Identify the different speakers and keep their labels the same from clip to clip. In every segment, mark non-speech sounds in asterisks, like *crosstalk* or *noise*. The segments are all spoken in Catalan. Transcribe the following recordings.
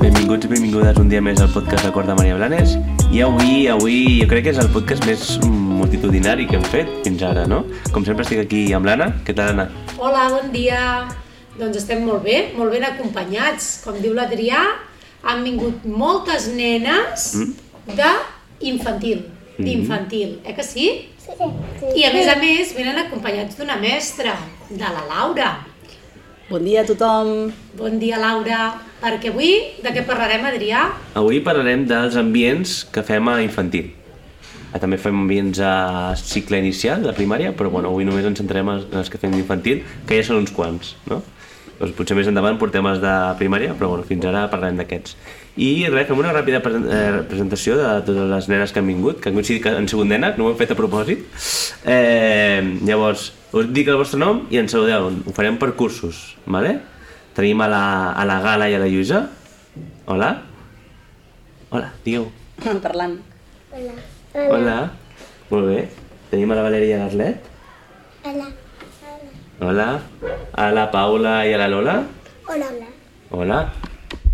Speaker 1: benvinguts i benvingudes un dia més al podcast de Cor de Maria Blanes. I avui, avui, jo crec que és el podcast més multitudinari que hem fet fins ara, no? Com sempre estic aquí amb l'Anna. Què tal, Anna?
Speaker 2: Hola, bon dia. Doncs estem molt bé, molt ben acompanyats. Com diu l'Adrià, han vingut moltes nenes de infantil, d'infantil, eh que sí? I a més a més venen acompanyats d'una mestra, de la Laura.
Speaker 3: Bon dia a tothom. *laughs*
Speaker 2: Bon dia, Laura. Perquè avui de què parlarem, Adrià?
Speaker 1: Avui parlarem dels ambients que fem a infantil. Ah, També fem ambients a cicle inicial, de primària, però bueno, avui només ens centrarem en els que fem d'infantil, que ja són uns quants, no? Doncs potser més endavant portem els de primària, però bueno, fins ara parlarem d'aquests. I res, fem una ràpida pre eh, presentació de totes les nenes que han vingut, que han coincidit que han sigut nenes, no ho hem fet a propòsit. Eh, llavors, us dic el vostre nom i ens saludeu. Ho farem per cursos, vale? Tenim a la, a la Gala i a la Lluïsa. Hola. Hola, digueu.
Speaker 3: Parlant.
Speaker 1: Hola. Molt bé. Tenim a la Valeria i a l'Arlet.
Speaker 4: Hola.
Speaker 1: Hola. A la Paula i a la Lola.
Speaker 4: Hola.
Speaker 1: Hola.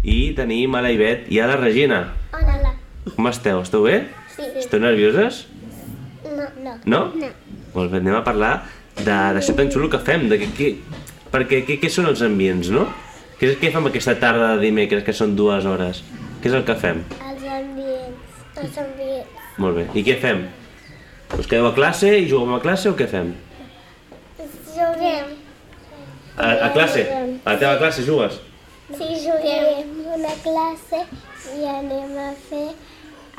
Speaker 1: I tenim a la Ivet i a la Regina.
Speaker 4: Hola.
Speaker 1: Com esteu? Esteu bé?
Speaker 4: Sí.
Speaker 1: Esteu nervioses?
Speaker 4: No. No.
Speaker 1: No?
Speaker 4: No.
Speaker 1: Molt bé, anem a parlar de, d'això tan xulo que fem, de què, què, perquè què, què són els ambients, no? Què, què fem aquesta tarda de dimecres, que són dues hores? Què és el que fem?
Speaker 4: Els ambients. Els ambients.
Speaker 1: Molt bé. I què fem? Us quedeu a classe i juguem a classe o què fem?
Speaker 4: Juguem.
Speaker 1: A, a classe? A la teva classe jugues?
Speaker 4: Sí, juguem una classe i anem a fer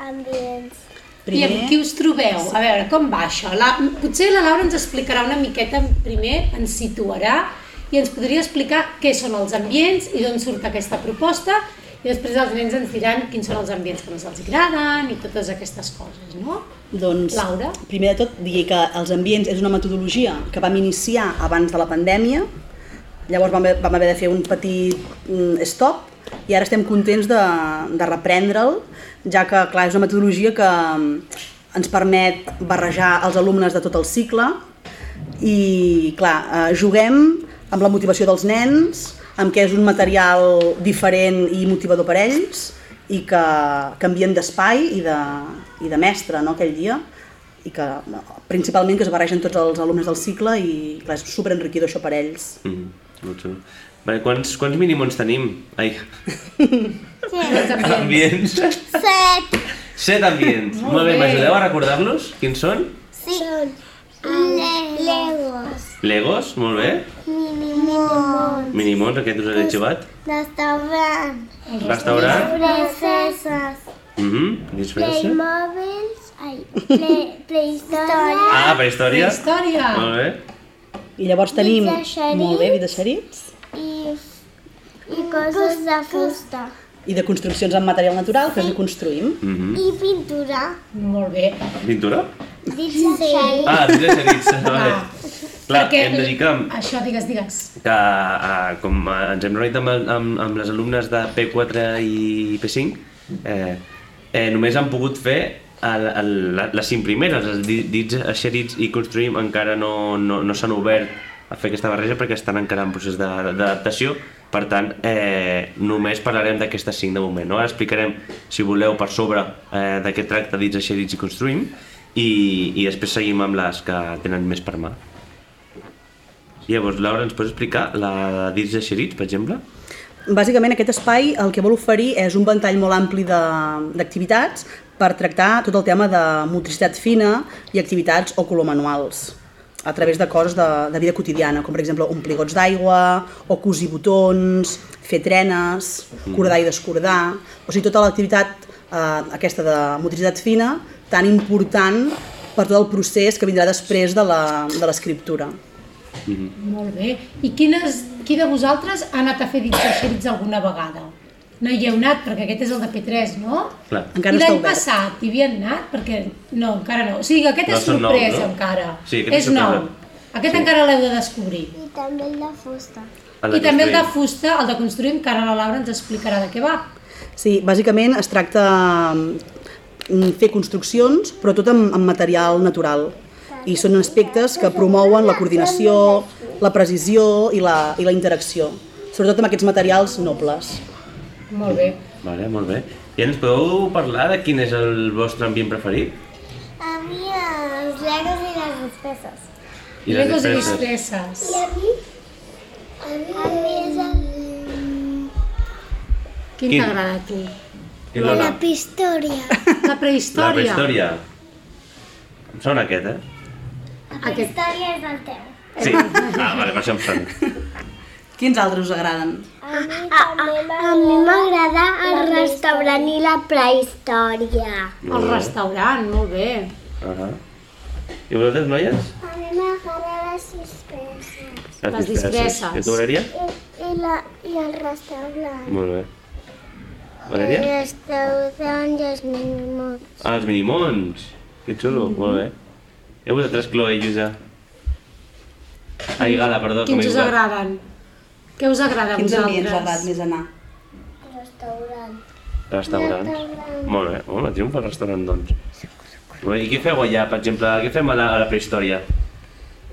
Speaker 4: ambients.
Speaker 2: I amb qui us trobeu? A veure, com va això? La, potser la Laura ens explicarà una miqueta primer, ens situarà i ens podria explicar què són els ambients i d'on surt aquesta proposta i després els nens ens diran quins són els ambients que més els agraden i totes aquestes coses, no?
Speaker 3: Doncs,
Speaker 2: Laura?
Speaker 3: primer de tot, dir que els ambients és una metodologia que vam iniciar abans de la pandèmia, llavors vam, haver- vam haver de fer un petit mm, stop i ara estem contents de, de reprendre'l, ja que, clar, és una metodologia que mm, ens permet barrejar els alumnes de tot el cicle i, clar, eh, juguem amb la motivació dels nens, amb què és un material diferent i motivador per a ells i que canvien d'espai i, de, i de mestre no, aquell dia i que no, principalment que es barregen tots els alumnes del cicle i clar, és super enriquidor això per a ells.
Speaker 1: Mm, molt xulo. Vale, quants, quants mínimons tenim? Ai,
Speaker 2: Els ambients.
Speaker 1: ambients.
Speaker 4: Set.
Speaker 1: Set ambients. Molt, bé,
Speaker 2: bé.
Speaker 1: m'ajudeu a recordar-los? Quins són?
Speaker 4: Sí. Són Legos. Legos.
Speaker 1: Legos, molt bé.
Speaker 4: Minimons.
Speaker 1: Minimons, aquest us l'he xivat.
Speaker 4: Restaurant.
Speaker 1: Restaurant.
Speaker 4: Princeses.
Speaker 1: Mhm, mm disfressa.
Speaker 4: Playmobils. Ai. Play, Playstoria.
Speaker 1: Ah, prehistòria.
Speaker 2: Història.
Speaker 1: Molt bé.
Speaker 3: I llavors tenim...
Speaker 4: Vida xerits.
Speaker 3: Molt bé, vida xerits.
Speaker 4: I, i coses de fusta.
Speaker 3: I de construccions amb material natural, que ens hi construïm.
Speaker 1: Mhm.
Speaker 4: I pintura.
Speaker 2: Molt bé.
Speaker 1: Pintura?
Speaker 4: Dins sí. xeri.
Speaker 1: *laughs* Ah, pintura xerits. Vale. Clar,
Speaker 2: Perquè-
Speaker 1: hem de dir que
Speaker 2: Això, digues, digues.
Speaker 1: que eh, com eh, ens hem reunit amb, el- amb, amb les alumnes de P4 i P5, eh, eh, només han pogut fer el, el, la- les cinc primeres, els di- dits eixerits i construïm encara no, no, no s'han obert a fer aquesta barreja perquè estan encara en procés de- d'adaptació, per tant, eh, només parlarem d'aquestes cinc de moment. No? Ara explicarem, si voleu, per sobre eh, de què tracta dits eixerits i construïm i, i després seguim amb les que tenen més per mà. Llavors, Laura, ens pots explicar la de dits de xerits, per exemple?
Speaker 3: Bàsicament aquest espai el que vol oferir és un ventall molt ampli de- d'activitats per tractar tot el tema de motricitat fina i activitats o manuals a través de coses de, de vida quotidiana, com per exemple omplir gots d'aigua, o cosir botons, fer trenes, cordar i descordar... O sigui, tota l'activitat eh, aquesta de motricitat fina tan important per tot el procés que vindrà després de la- de l'escriptura.
Speaker 2: Molt bé. I quines, qui de vosaltres ha anat a fer dits de xerits alguna vegada? No hi heu anat, perquè aquest és el de P3, no?
Speaker 1: Clar.
Speaker 3: Encara
Speaker 2: I
Speaker 3: està
Speaker 2: l'any
Speaker 3: obert.
Speaker 2: passat hi havien anat? Perquè... No, encara no. O sigui, aquest
Speaker 1: No,
Speaker 2: és
Speaker 1: són nous,
Speaker 2: sorpresa
Speaker 1: no?
Speaker 2: encara.
Speaker 1: Sí, aquest és
Speaker 2: és nou.
Speaker 1: sorpresa.
Speaker 2: Aquest encara l'heu de descobrir.
Speaker 4: I també el de fusta.
Speaker 1: El de
Speaker 2: I també el de
Speaker 1: construir.
Speaker 2: fusta, el de construir, encara la Laura ens explicarà de què va.
Speaker 3: Sí, bàsicament es tracta mm, fer construccions, però tot amb, amb material natural. I són aspectes que promouen la coordinació, la precisió i la, i la interacció, sobretot amb aquests materials nobles.
Speaker 2: Molt bé.
Speaker 1: Vale, molt bé. I ens podeu parlar de quin és el vostre ambient preferit?
Speaker 4: A mi els legos i les despeses.
Speaker 1: I les
Speaker 2: Legos i
Speaker 1: disfresses?
Speaker 2: disfresses.
Speaker 4: I a mi? A mi, a mi és el...
Speaker 2: Quin
Speaker 1: Quin?
Speaker 2: t'agrada a tu? eh,
Speaker 1: I Lola?
Speaker 4: pistòria.
Speaker 2: La prehistòria.
Speaker 1: La prehistòria. Em sona aquest, eh?
Speaker 4: La història és el teu.
Speaker 2: *laughs*
Speaker 1: Sí. Ah, vale, per això em sona.
Speaker 3: Quins altres us agraden?
Speaker 4: A mi ah, m'agrada el restaurant i la prehistòria.
Speaker 2: El restaurant, molt bé.
Speaker 1: Uh -huh. I vosaltres, noies?
Speaker 4: A mi m'agrada les dispenses.
Speaker 2: Les disfresses.
Speaker 1: I tu, Valeria?
Speaker 4: I, i, la, i el restaurant.
Speaker 1: Molt bé.
Speaker 2: Eh.
Speaker 1: Valeria?
Speaker 4: restaurant i els nens
Speaker 1: Ah, els minimons. Que xulo,
Speaker 2: Mm-hmm.
Speaker 1: molt bé. I vosaltres, Chloe i Lluïsa? Ai, Gala, perdó. com he
Speaker 2: Quins us
Speaker 1: dit.
Speaker 2: agraden? Què us agrada a
Speaker 3: Quins ambients us
Speaker 2: vosaltres?
Speaker 3: agraden més anar?
Speaker 4: Restaurant.
Speaker 1: Restaurants.
Speaker 4: Restaurant.
Speaker 1: Molt bé, home, triomfa el restaurant, doncs. Molt bé, I què feu allà, per exemple? Què fem a la, a la prehistòria?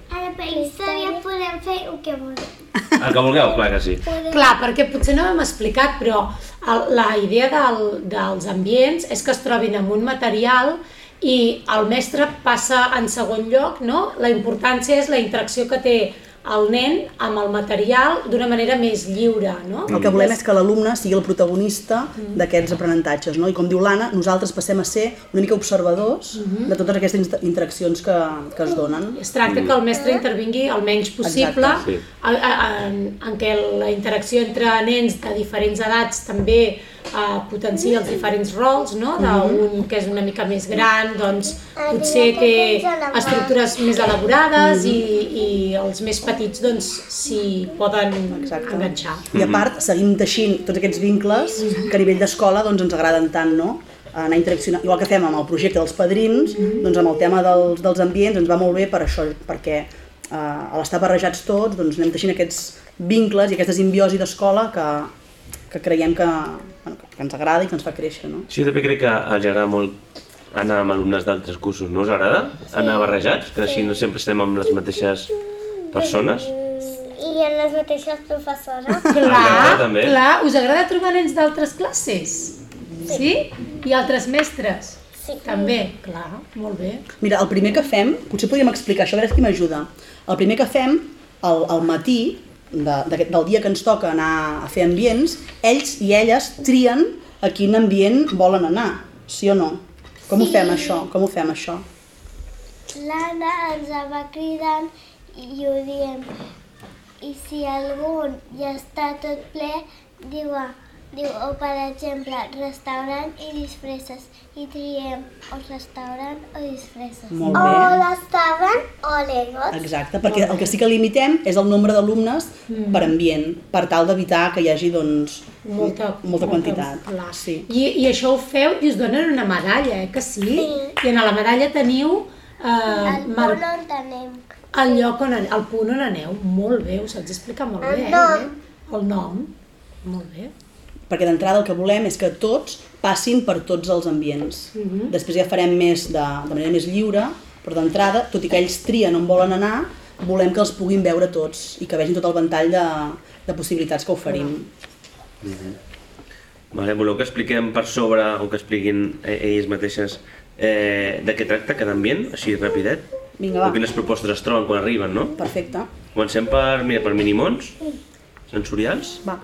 Speaker 4: A la prehistòria podem fer el que vulguem.
Speaker 1: El que vulgueu, clar que sí.
Speaker 2: Clar, perquè potser no hem explicat, però el, la idea del, dels ambients és que es trobin amb un material i el mestre passa en segon lloc, no? La importància és la interacció que té el nen amb el material d'una manera més lliure, no?
Speaker 3: El que volem és que l'alumne sigui el protagonista d'aquests aprenentatges, no? I com diu l'Anna, nosaltres passem a ser una mica observadors de totes aquestes inter- interaccions que, que es donen.
Speaker 2: Es tracta que el mestre intervingui el menys possible,
Speaker 1: Mm. Exacte, sí.
Speaker 2: a- a- en, en què la interacció entre nens de diferents edats també eh, potencia els diferents rols, no?
Speaker 1: Mm-hmm.
Speaker 2: D'un que és una mica més gran, doncs potser té estructures més elaborades i,
Speaker 1: Mm-hmm.
Speaker 2: i els més petits doncs s'hi poden
Speaker 3: Exacte.
Speaker 2: enganxar.
Speaker 3: I a part, seguim teixint tots aquests vincles que a nivell d'escola doncs, ens agraden tant, no? anar interaccionant, igual que fem amb el projecte dels padrins, doncs amb el tema dels, dels ambients ens va molt bé per això, perquè eh, a l'estar barrejats tots doncs anem teixint aquests vincles i aquesta simbiosi d'escola que, que creiem que, bueno, que, que ens agrada i que ens fa créixer. No?
Speaker 1: Sí, jo també crec que els agrada molt anar amb alumnes d'altres cursos. No us agrada anar barrejats? Que així no sempre estem amb les mateixes persones?
Speaker 4: I en les mateixes professores. *laughs*
Speaker 2: Clar,
Speaker 1: Agrada, també.
Speaker 2: clar, us agrada trobar nens d'altres classes? Sí? I altres mestres?
Speaker 4: Sí.
Speaker 2: També, clar, molt bé.
Speaker 3: Mira, el primer que fem, potser podríem explicar això, a veure si m'ajuda. El primer que fem, al, al matí, de, de, del dia que ens toca anar a fer ambients, ells i elles trien a quin ambient volen anar, sí o no? Com ho fem això? Com ho fem això?
Speaker 4: L'Anna ens va cridant i ho diem. I si algun ja està tot ple, diu, diu o per exemple, restaurant i disfresses. I triem o restaurant o disfresses.
Speaker 3: Molt bé.
Speaker 4: restaurant o legos.
Speaker 3: Exacte, perquè el que sí que limitem és el nombre d'alumnes per ambient, per tal d'evitar que hi hagi, doncs,
Speaker 2: molta,
Speaker 3: molta quantitat.
Speaker 2: Clar.
Speaker 3: Sí.
Speaker 2: I, I això ho feu i us donen una medalla, eh, que sí? I en la medalla teniu eh,
Speaker 4: El
Speaker 2: mar...
Speaker 4: punt on tenim.
Speaker 2: el lloc on, an- el punt on aneu. Molt bé, us saps explicar molt
Speaker 4: El
Speaker 2: bé. eh,
Speaker 4: nom.
Speaker 2: Eh? El nom. Molt bé.
Speaker 3: perquè d'entrada el que volem és que tots passin per tots els ambients. Després ja farem més de, de manera més lliure, però d'entrada, tot i que ells trien on volen anar, volem que els puguin veure tots i que vegin tot el ventall de, de possibilitats que oferim.
Speaker 1: Vale, voleu que expliquem per sobre o que expliquin eh, ells mateixes eh, de què tracta cada ambient, així rapidet?
Speaker 3: Vinga, va.
Speaker 1: O quines propostes es troben quan arriben, no?
Speaker 3: Perfecte.
Speaker 1: Comencem per, mira, per minimons sensorials.
Speaker 3: Va.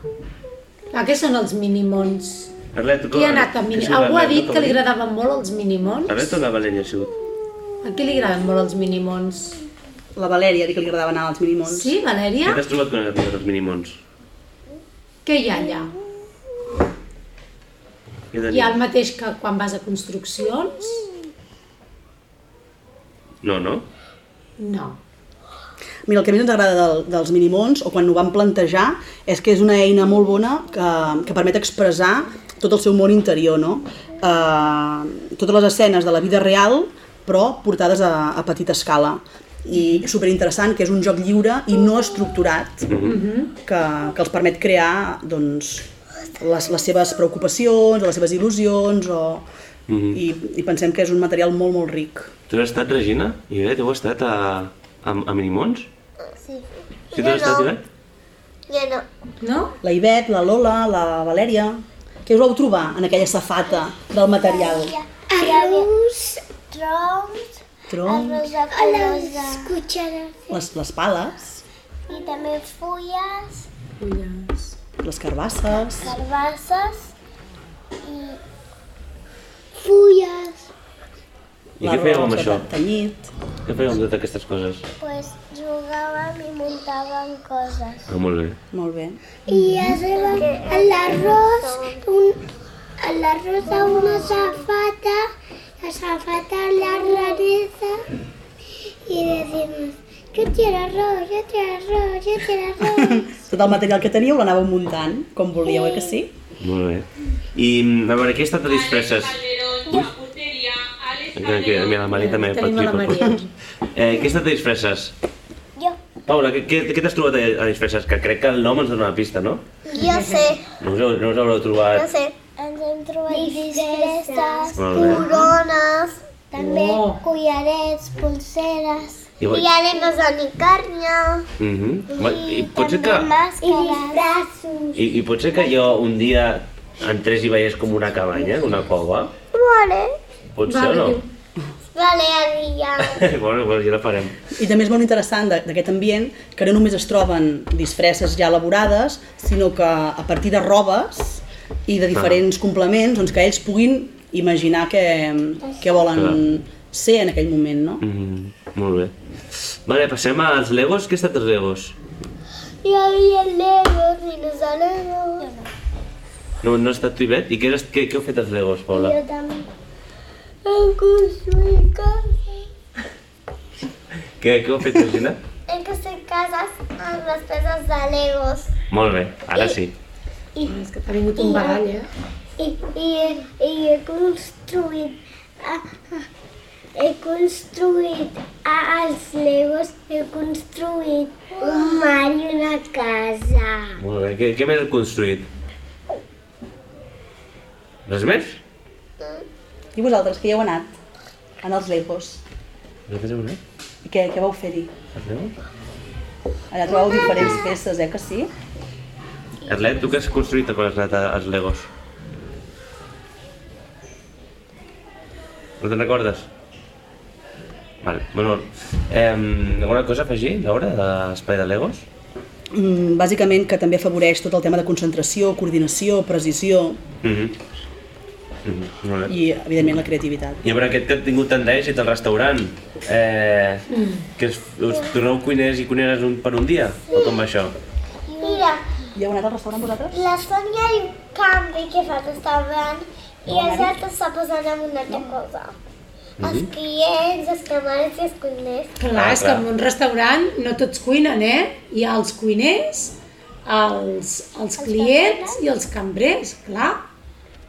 Speaker 2: Ah, què són els minimons?
Speaker 1: Arlet, tu,
Speaker 2: Qui ha anat a mini... Algú ha dit que li agradaven molt els minimons?
Speaker 1: Arlet o la Valeria ha sigut?
Speaker 2: A qui li agraden molt els minimons?
Speaker 3: La Valèria, que li agradava anar als minimons.
Speaker 2: Sí,
Speaker 1: Què
Speaker 2: Valeria?
Speaker 1: t'has trobat quan has arribat als minimons?
Speaker 2: Què hi ha allà?
Speaker 1: Què
Speaker 2: Hi ha
Speaker 1: tenia?
Speaker 2: el mateix que quan vas a construccions?
Speaker 1: No, no?
Speaker 2: No.
Speaker 3: Mira, el que més ens agrada del, dels minimons, o quan ho vam plantejar, és que és una eina molt bona que, que permet expressar tot el seu món interior, no? Eh, totes les escenes de la vida real, però portades a, a petita escala. I superinteressant, que és un joc lliure i no estructurat, que, que els permet crear, doncs, les, les seves preocupacions, o les seves il·lusions, o... I, i pensem que és un material molt, molt ric.
Speaker 1: Tu has estat, Regina? I bé, tu has estat a, a, a Minimons?
Speaker 4: Sí.
Speaker 1: Sí, tu has estat, Ivet?
Speaker 4: Jo no.
Speaker 2: No?
Speaker 3: La Ivet, la Lola, la Valèria, Què us vau trobar en aquella safata del material?
Speaker 4: Arroz, troncs,
Speaker 3: Troncs,
Speaker 4: arròs de colosa
Speaker 3: les, les pales,
Speaker 4: i també fulles,
Speaker 3: les carbasses,
Speaker 4: carbasses i fulles.
Speaker 5: I què fèieu amb
Speaker 3: l'arròs
Speaker 5: això?
Speaker 3: de tanyit.
Speaker 5: Què fèieu amb totes aquestes coses?
Speaker 4: Pues jugàvem i muntàvem coses.
Speaker 5: Ah, molt bé.
Speaker 3: Molt bé.
Speaker 4: I arribem a l'arròs, un, a l'arròs a una safata, la safata a la raneta i decimos, yo quiero arroz, yo quiero arroz, yo quiero *laughs* arroz.
Speaker 3: Tot el material que teníeu l'anàveu muntant, com volíeu, eh que sí?
Speaker 5: Molt bé.
Speaker 1: I, mm, a veure, què ha estat a les fresses?
Speaker 5: Mira, aquí, mira, la Maria també pot
Speaker 6: Tenim la Maria.
Speaker 1: Eh, què ha estat a les fresses?
Speaker 4: Jo,
Speaker 1: Paula, què, què, què t'has trobat a a les fresses? Que crec que el nom ens dona una pista, no?
Speaker 4: jo sé,
Speaker 1: No us, heu- no us haureu trobat...
Speaker 4: sé. Ens hem trobat disfresses,
Speaker 1: Molt bé.
Speaker 4: corones, també
Speaker 6: Oh.
Speaker 4: collarets, pulseres,
Speaker 1: I vol-
Speaker 4: arenes de nicàrnia,
Speaker 1: Mhm. Va, I pot ser que...
Speaker 4: màscares, i
Speaker 1: I, I pot ser que jo un dia entrés i veiés com una cabanya, una cova?
Speaker 4: Vale,
Speaker 1: Pot ser o no?
Speaker 4: vale, Adrià.
Speaker 1: *laughs* bueno, bueno, ja la farem.
Speaker 3: I també és molt interessant de- d'aquest ambient que no només es troben disfresses ja elaborades, sinó que a partir de robes i de diferents complements doncs que ells puguin imaginar què, què volen ser en aquell moment, no?
Speaker 1: Mm, molt bé. Vale, passem als Legos. Què ha estat els Legos?
Speaker 4: *laughs* Yo vi el Lego, dinosaurio.
Speaker 1: No, no ha estat tu, Ivet? I què, has- què, què heu fet als Legos, Paula?
Speaker 4: también. En construir casas.
Speaker 1: Què, què heu fet, Regina?
Speaker 4: En construir casas a las piezas de Legos.
Speaker 1: molt bé, ara sí.
Speaker 6: És que t'ha vingut un barall, eh?
Speaker 4: Y, y, y he construido. A, a, he construït a- als Legos, he construït un mar i una casa.
Speaker 1: Molt bé. Què, què més heu construït? Res més?
Speaker 3: I vosaltres, que hi heu anat? En els Legos.
Speaker 1: Nosaltres heu anat?
Speaker 3: I què, què vau fer-hi?
Speaker 1: Els Legos?
Speaker 3: Allà trobeu diferents peces, eh que sí?
Speaker 1: Arlet, tu què has construït quan has anat a- als Legos? No te'n recordes? Vale, bueno, eh, alguna cosa a afegir, Laura, de l'espai de Legos?
Speaker 3: Mm, bàsicament que també afavoreix tot el tema de concentració, coordinació, precisió
Speaker 1: Mhm. Mhm, Molt bé.
Speaker 3: i, evidentment, la creativitat.
Speaker 1: I a veure, aquest que ha tingut tant d'èxit al restaurant, eh,
Speaker 2: Mm.
Speaker 1: que us, us torneu cuiners i cuineres un, per un dia? O com va això?
Speaker 4: Mira,
Speaker 3: Hi heu anat al restaurant vosaltres?
Speaker 4: La Sònia diu canvi que fa el restaurant i els altres s'ha posat en una altra cosa.
Speaker 6: Mhm.
Speaker 4: Els clients, els camarers i els cuiners.
Speaker 2: Clar,
Speaker 1: Ah,
Speaker 2: és que
Speaker 1: clar.
Speaker 2: en un restaurant no tots cuinen, eh? Hi ha els cuiners, els, els clients i els cambrers, clar.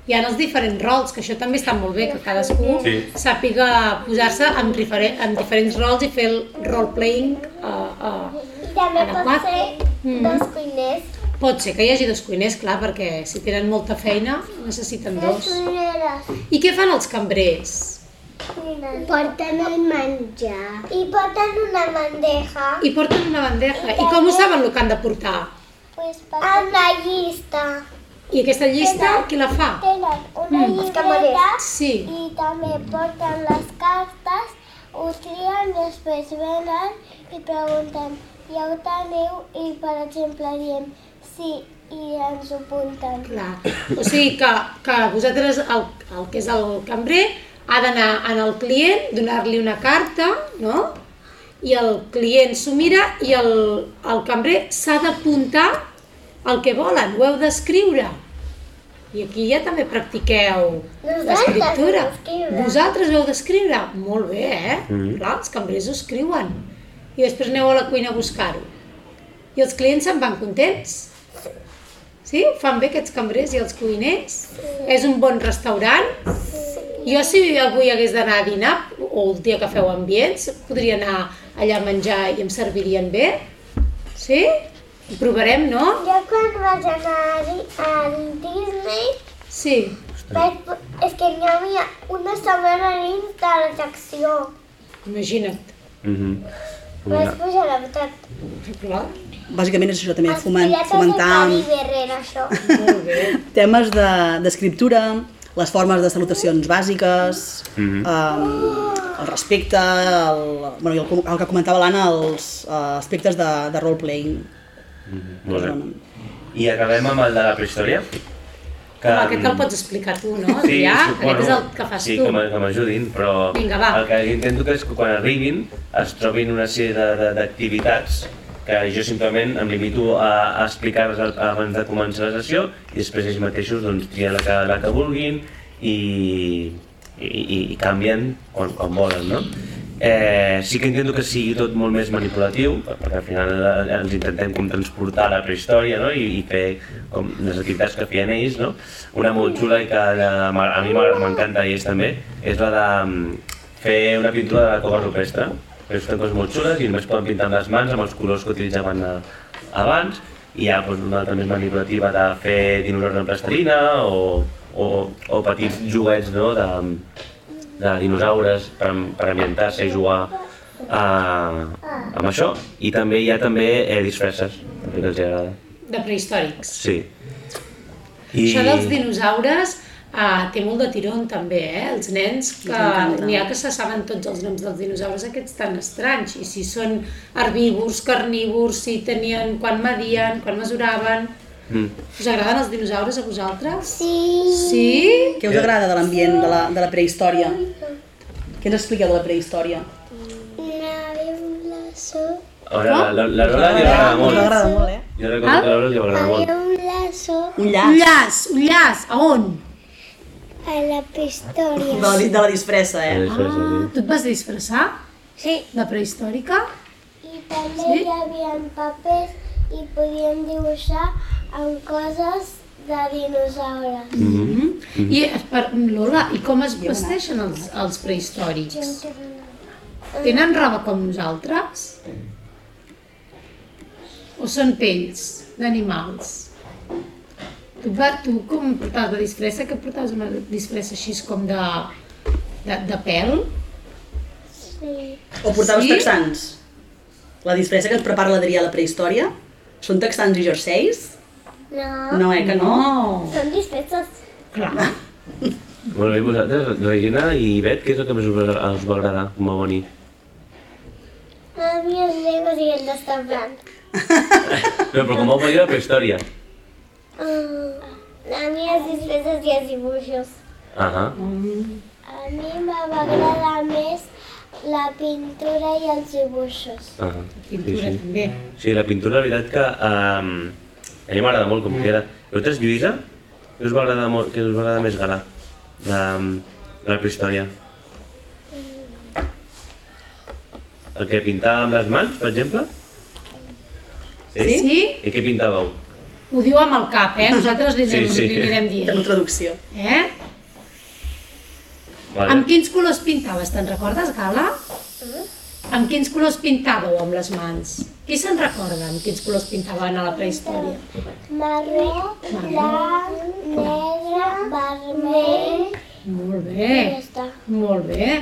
Speaker 2: Hi ha els diferents rols, que això també està molt bé, que cadascú
Speaker 1: Sí.
Speaker 2: sàpiga posar-se en, diferent, en diferents rols i fer el role-playing. Uh, uh.
Speaker 4: I també pot
Speaker 2: Adequat.
Speaker 4: ser
Speaker 6: Mhm.
Speaker 4: dos cuiners.
Speaker 2: Pot ser que hi hagi dos cuiners, clar, perquè si tenen molta feina necessiten dos.
Speaker 4: cuineres
Speaker 2: I què fan els cambrers?
Speaker 4: porten el menjar. I porten una bandeja
Speaker 2: I porten una bandeja. I com ho saben el que han de portar?
Speaker 4: pues, amb la llista.
Speaker 2: I aquesta llista, qui la fa?
Speaker 4: Tenen una mm. llibreta
Speaker 2: Sí.
Speaker 4: i també porten les cartes, ho trien i després venen i pregunten ja ho teniu i per exemple diem sí i ens ho apunten.
Speaker 2: Clar. O sigui que, que vosaltres, el, el que és el cambrer, ha d'anar en el client, donar-li una carta, no? I el client s'ho mira i el, el cambrer s'ha d'apuntar el que volen, ho heu d'escriure. I aquí ja també practiqueu
Speaker 4: Nosaltres
Speaker 2: l'escriptura.
Speaker 4: ho escriure.
Speaker 2: Vosaltres heu d'escriure? Molt bé, eh?
Speaker 1: Mhm.
Speaker 2: Clar, els cambrers ho escriuen. I després aneu a la cuina a buscar-ho. I els clients se'n van contents. Sí, ho fan bé aquests cambrers i els cuiners. És un bon restaurant. Jo si avui hagués d'anar a dinar, o el dia que feu ambients, podria anar allà a menjar i em servirien bé. Sí? Ho provarem, no?
Speaker 4: Jo quan vaig anar a Di- al Disney
Speaker 2: Sí.
Speaker 4: vaig, po- és que n'hi havia una setmana dins de l'atracció.
Speaker 2: Imagina't.
Speaker 1: Mhm.
Speaker 4: Vaig pujar a la veritat.
Speaker 2: Clar.
Speaker 3: bàsicament és això també,
Speaker 4: Els
Speaker 3: fomen,
Speaker 4: pirates
Speaker 3: fomentar
Speaker 4: de Caribe, rere això.
Speaker 3: temes de- d'escriptura, les formes de salutacions bàsiques, mm
Speaker 1: Mhm.
Speaker 3: eh, el respecte, el, bueno, i el, com- el que comentava l'Anna, els eh, aspectes de, de role-playing.
Speaker 1: Molt bé. I acabem amb el de la prehistòria. Que,
Speaker 2: Home, aquest te'l pots explicar tu, no?
Speaker 1: Sí,
Speaker 2: ja,
Speaker 1: suposo.
Speaker 2: aquest és el que fas
Speaker 1: sí,
Speaker 2: tu.
Speaker 1: que m'a- que m'ajudin, però
Speaker 2: Vinga, va.
Speaker 1: el que intento que és que quan arribin es trobin una sèrie de- de- d'activitats que jo simplement em limito a, a explicar-les al- abans de començar la sessió i després ells mateixos doncs, trien la que, la que vulguin i, i, i, i canvien quan, quan volen, no? Eh, sí que intento que sigui tot molt més manipulatiu, per- perquè al final eh, ens intentem com transportar a la prehistòria no? I, i fer com les activitats que feien ells. No? Una molt xula i que eh, m'a- a mi m'a- m'encanta i ells també, és la de mm, fer una pintura de la cova rupestre. Però són coses molt xules i només poden pintar amb les mans amb els colors que utilitzaven eh, abans. I hi ha doncs, una altra més manipulativa de fer dinosaures amb plastilina o, o, o petits joguets no? de, de dinosaures per, per ambientar-se i jugar eh, amb això. I també hi ha també eh, disfresses, també que els hi agrada.
Speaker 2: De prehistòrics.
Speaker 1: Sí.
Speaker 2: I... Això dels dinosaures Uh, té molt de tirón també, eh? Els nens que
Speaker 3: M'encanta.
Speaker 2: n'hi ha que se saben tots els noms dels dinosaures aquests tan estranys i si són herbívors, carnívors, si tenien, quan medien, quan mesuraven...
Speaker 1: Mm.
Speaker 2: Us agraden els dinosaures a vosaltres?
Speaker 4: *laughs* Sí.
Speaker 2: Sí?
Speaker 3: Què us agrada de l'ambient de, la, de la prehistòria? Què ens expliqueu de la prehistòria?
Speaker 4: Una violació
Speaker 1: Ara, la, la, la Lola li agrada
Speaker 3: Us
Speaker 1: molt.
Speaker 3: agrada molt, eh?
Speaker 1: Jo recordo que a la Lola li agrada molt.
Speaker 4: Había un lazo
Speaker 3: Un
Speaker 2: Un
Speaker 3: llaç
Speaker 2: llaç, un llaç, a on?
Speaker 4: a la
Speaker 3: de
Speaker 4: pistola.
Speaker 3: la, de la disfressa, eh?
Speaker 2: Ah, tu et vas disfressar
Speaker 4: Sí.
Speaker 2: de prehistòrica?
Speaker 4: I també hi havia papers i podíem dibuixar amb coses de dinosaures.
Speaker 2: Mm -hmm. I, per, Lola, i com es vesteixen els, els prehistòrics? Tenen roba com nosaltres? O són pells d'animals? Tu, va, tu com portaves la disfressa? Que portaves una disfressa així com de, de, de pèl?
Speaker 4: Sí.
Speaker 3: O portaves
Speaker 2: Sí?
Speaker 3: texans? La disfressa que ens prepara l'Adrià a la prehistòria? Són texans i jerseis?
Speaker 4: No.
Speaker 3: No, eh, que no?
Speaker 1: Oh.
Speaker 4: Són disfresses.
Speaker 2: Clar.
Speaker 1: Molt bé, vosaltres, Regina i Bet, què és el que més us va, us va agradar com va venir?
Speaker 4: A mi els legos i el restaurant.
Speaker 1: No, però com va venir la prehistòria.
Speaker 4: Uh, a mi les disfresses i els dibuixos.
Speaker 1: Ahà.
Speaker 4: A mi m'agrada més la pintura i els dibuixos.
Speaker 1: ahà. Sí,
Speaker 2: Pintura
Speaker 1: sí.
Speaker 2: també.
Speaker 1: sí, la pintura, la veritat que um, a mi m'agrada molt com queda. I vosaltres, Lluïsa, què us va agradar, molt, què us va agradar més gala de, de la prehistòria? El que pintava amb les mans, per exemple?
Speaker 2: Sí? sí?
Speaker 1: I què pintàveu?
Speaker 2: Ho diu amb el cap, eh? Nosaltres li anem,
Speaker 1: Sí, sí.
Speaker 2: li anirem
Speaker 3: En
Speaker 2: dient.
Speaker 3: traducció.
Speaker 2: Eh? Amb quins colors pintaves? Te'n recordes, Gala? Amb quins colors pintàveu amb les mans? Qui se'n recorda amb quins colors pintaven a la prehistòria?
Speaker 4: Marró, blanc, negre, vermell
Speaker 2: Molt
Speaker 4: i ja
Speaker 2: bé,
Speaker 4: està.
Speaker 2: molt bé.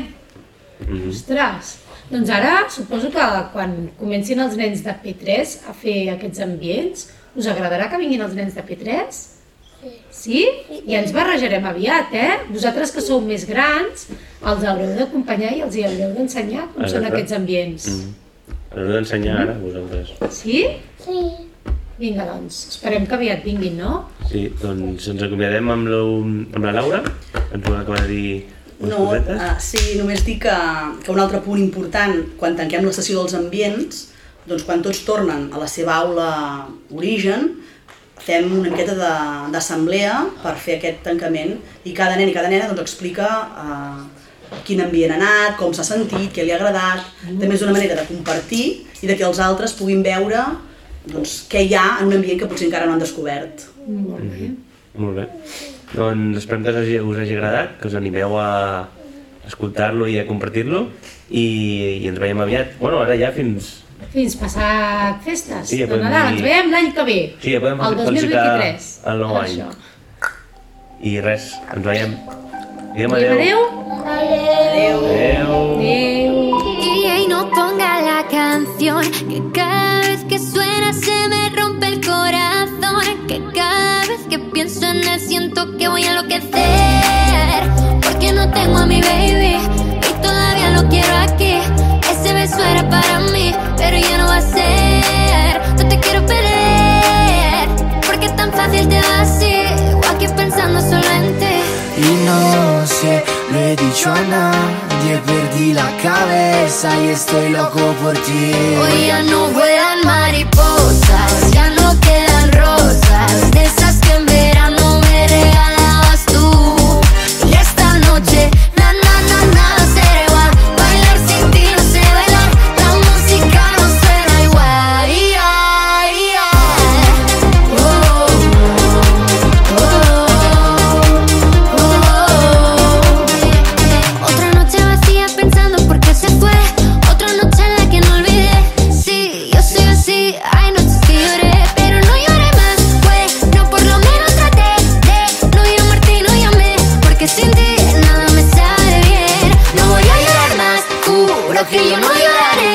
Speaker 1: Mhm.
Speaker 2: Ostres, doncs ara suposo que quan comencin els nens de P3 a fer aquests ambients, us agradarà que vinguin els nens de P3? Sí? I ens barrejarem aviat, eh? Vosaltres que sou més grans, els haureu d'acompanyar i els hi haureu d'ensenyar com són
Speaker 1: Exacte.
Speaker 2: aquests ambients.
Speaker 1: Mhm. Us ho d'ensenyar ara, vosaltres.
Speaker 2: Sí?
Speaker 4: Sí.
Speaker 2: Vinga, doncs, esperem que aviat vinguin, no?
Speaker 1: Sí, doncs ens acomiadem amb, la, amb la Laura, ens vol acabar de dir unes
Speaker 3: No,
Speaker 1: cosetes.
Speaker 2: ah.
Speaker 3: uh, sí, només dir que, que un altre punt important, quan tanquem la sessió dels ambients, doncs quan tots tornen a la seva aula origen, fem una miqueta de- d'assemblea per fer aquest tancament i cada nen i cada nena doncs, explica uh, quin ambient ha anat, com s'ha sentit, què li ha agradat.
Speaker 1: Mm.
Speaker 3: També és una manera de compartir i de que els altres puguin veure doncs, què hi ha en un ambient que potser encara no han descobert.
Speaker 2: Molt bé.
Speaker 1: Molt bé. Doncs esperem que us hagi, us hagi agradat, que us animeu a escoltar-lo i a compartir-lo i, i ens veiem aviat. Bueno, ara ja fins...
Speaker 2: Fins passat festes
Speaker 1: Mhm. Sí, ja
Speaker 2: de
Speaker 1: podem
Speaker 2: Nadal.
Speaker 1: dir-
Speaker 2: Ens veiem l'any que ve,
Speaker 1: Sí, ja podem
Speaker 2: el
Speaker 1: felicitar
Speaker 2: 2023.
Speaker 1: el nou
Speaker 2: per
Speaker 1: any.
Speaker 2: això.
Speaker 1: I res, ens veiem. Diguem
Speaker 2: Diem
Speaker 1: adeu.
Speaker 2: adeu.
Speaker 1: Adeu.
Speaker 2: Adeu.
Speaker 7: Y no ponga la canción que cada vez que suena se pienso en él siento que voy a enloquecer Porque no tengo a mi baby y todavía lo quiero aquí Ese beso era para mí, pero ya no va a ser No te quiero perder, porque tan fácil te va así O aquí pensando solo en ti
Speaker 8: Y no se lo he dicho a nadie, perdí la cabeza y estoy loco por ti.
Speaker 7: Hoy ya no vuelan mariposas, ya no quedan rosas, de esas que en verano me regalabas tú. Y esta noche, na na na nada se va, bailar sin ti no sé bailar, la música no será igual. Ay, ay, ay. Oh, oh, oh, oh. Otra noche vacía pensando por qué se fue, otra noche en la que no olvidé. Sí, yo soy así, ay noches que lloré, pero no lloré más, fue, no por lo menos traté de no llamarte y no llamé, porque sin ti nada me sabe bien. No voy a llorar más, juro que yo no lloraré,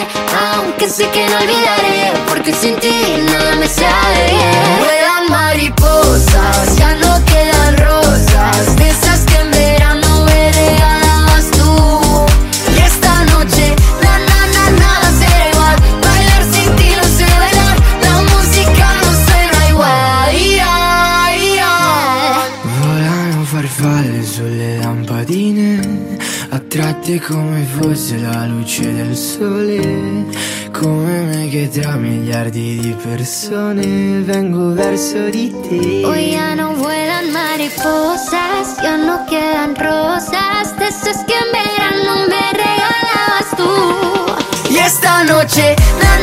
Speaker 7: aunque sé que no olvidaré, porque sin ti nada me sabe bien. Vuelan mariposas, ya no quedan rosas, de esas que en verano me regalabas tú. Y esta noche, na na na nada será igual, bailar sin ti no sé bailar, la música no será igual. Ay, ay, ay.
Speaker 8: Volano farfalle sulle lampadine, attratte come fosse la luce del sole, come me che tra miliardi di persone vengo verso di te.
Speaker 7: Hoy ya no vuelan mariposas, ya no quedan rosas, de esas que en verano me regalabas tú.
Speaker 8: Y esta noche
Speaker 7: Na Oh,